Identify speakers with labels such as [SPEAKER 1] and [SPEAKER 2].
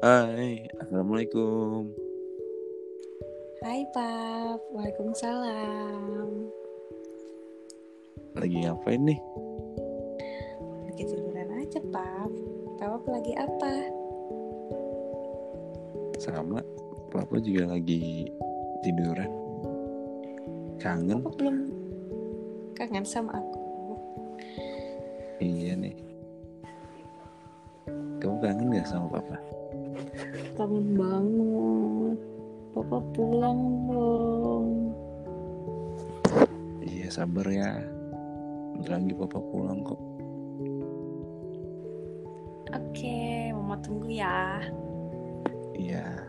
[SPEAKER 1] Hai, Assalamualaikum.
[SPEAKER 2] Hai Pap, Waalaikumsalam
[SPEAKER 1] Lagi ngapain nih?
[SPEAKER 2] Lagi tiduran aja Pap Pap lagi apa?
[SPEAKER 1] Sama, Papa juga lagi tiduran. Kangen,
[SPEAKER 2] Pap belum kangen sama aku
[SPEAKER 1] iya nih. Kamu kangen gak sama Papa?
[SPEAKER 2] Kangen banget Papa pulang dong
[SPEAKER 1] Iya, sabar ya. Bentar lagi Papa pulang kok.
[SPEAKER 2] Oke, Mama tunggu ya
[SPEAKER 1] Iya,